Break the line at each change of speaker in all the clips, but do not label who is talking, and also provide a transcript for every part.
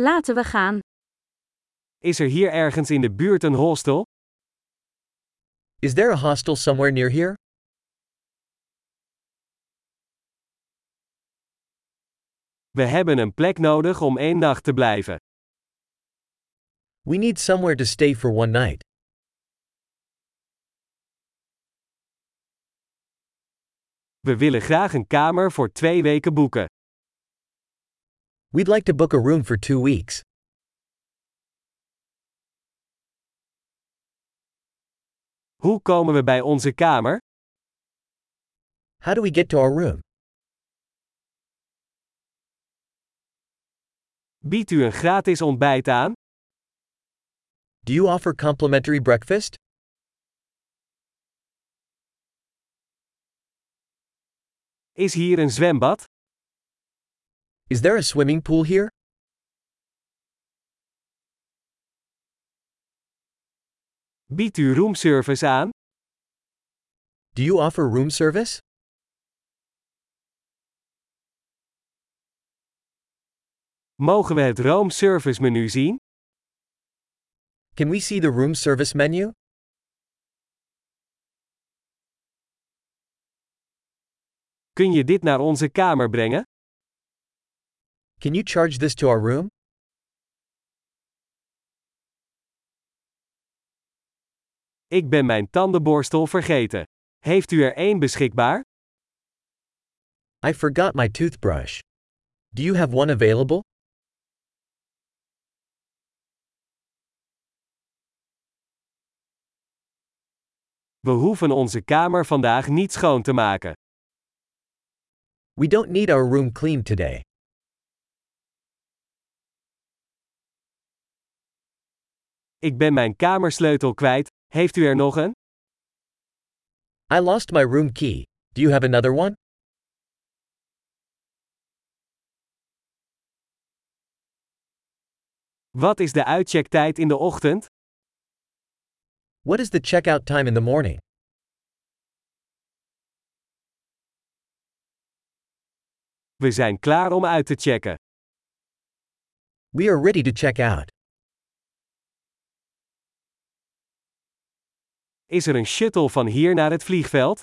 Laten we gaan.
Is er hier ergens in de buurt een hostel?
Is there a hostel somewhere near here?
We hebben een plek nodig om één nacht te blijven.
We need somewhere to stay for one night.
We willen graag een kamer voor twee weken boeken.
We'd like to book a room for two weeks.
Hoe komen we bij onze kamer?
How do we get to our room?
Biedt u een gratis ontbijt aan?
Do you offer complimentary breakfast?
Is hier een zwembad?
Is there a swimming pool here?
Biedt u roomservice aan?
Do you offer room service?
Mogen we het roomservice menu zien?
Can we see the room service menu?
Kun je dit naar onze kamer brengen?
Can you charge this to our room?
Ik ben mijn tandenborstel vergeten. Heeft u er één beschikbaar?
I forgot my toothbrush. Do you have one available?
We hoeven onze kamer vandaag niet schoon te maken.
We don't need our room cleaned today.
Ik ben mijn kamersleutel kwijt. Heeft u er nog een?
I lost my room key. Do you have another one?
Wat is de uitchecktijd in de ochtend?
What is the checkout time in the morning?
We zijn klaar om uit te checken.
We are ready to check out.
Is er een shuttle van hier naar het vliegveld?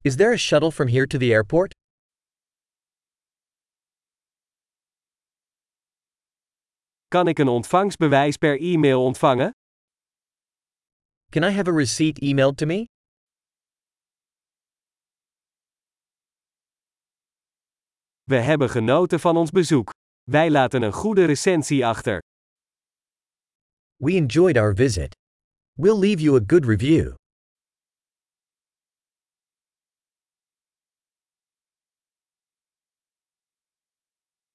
Is there a shuttle from here to the airport?
Kan ik een ontvangstbewijs per e-mail ontvangen?
Can I have a receipt emailed to me?
We hebben genoten van ons bezoek. Wij laten een goede recensie achter.
We enjoyed our visit. We'll leave you a good review.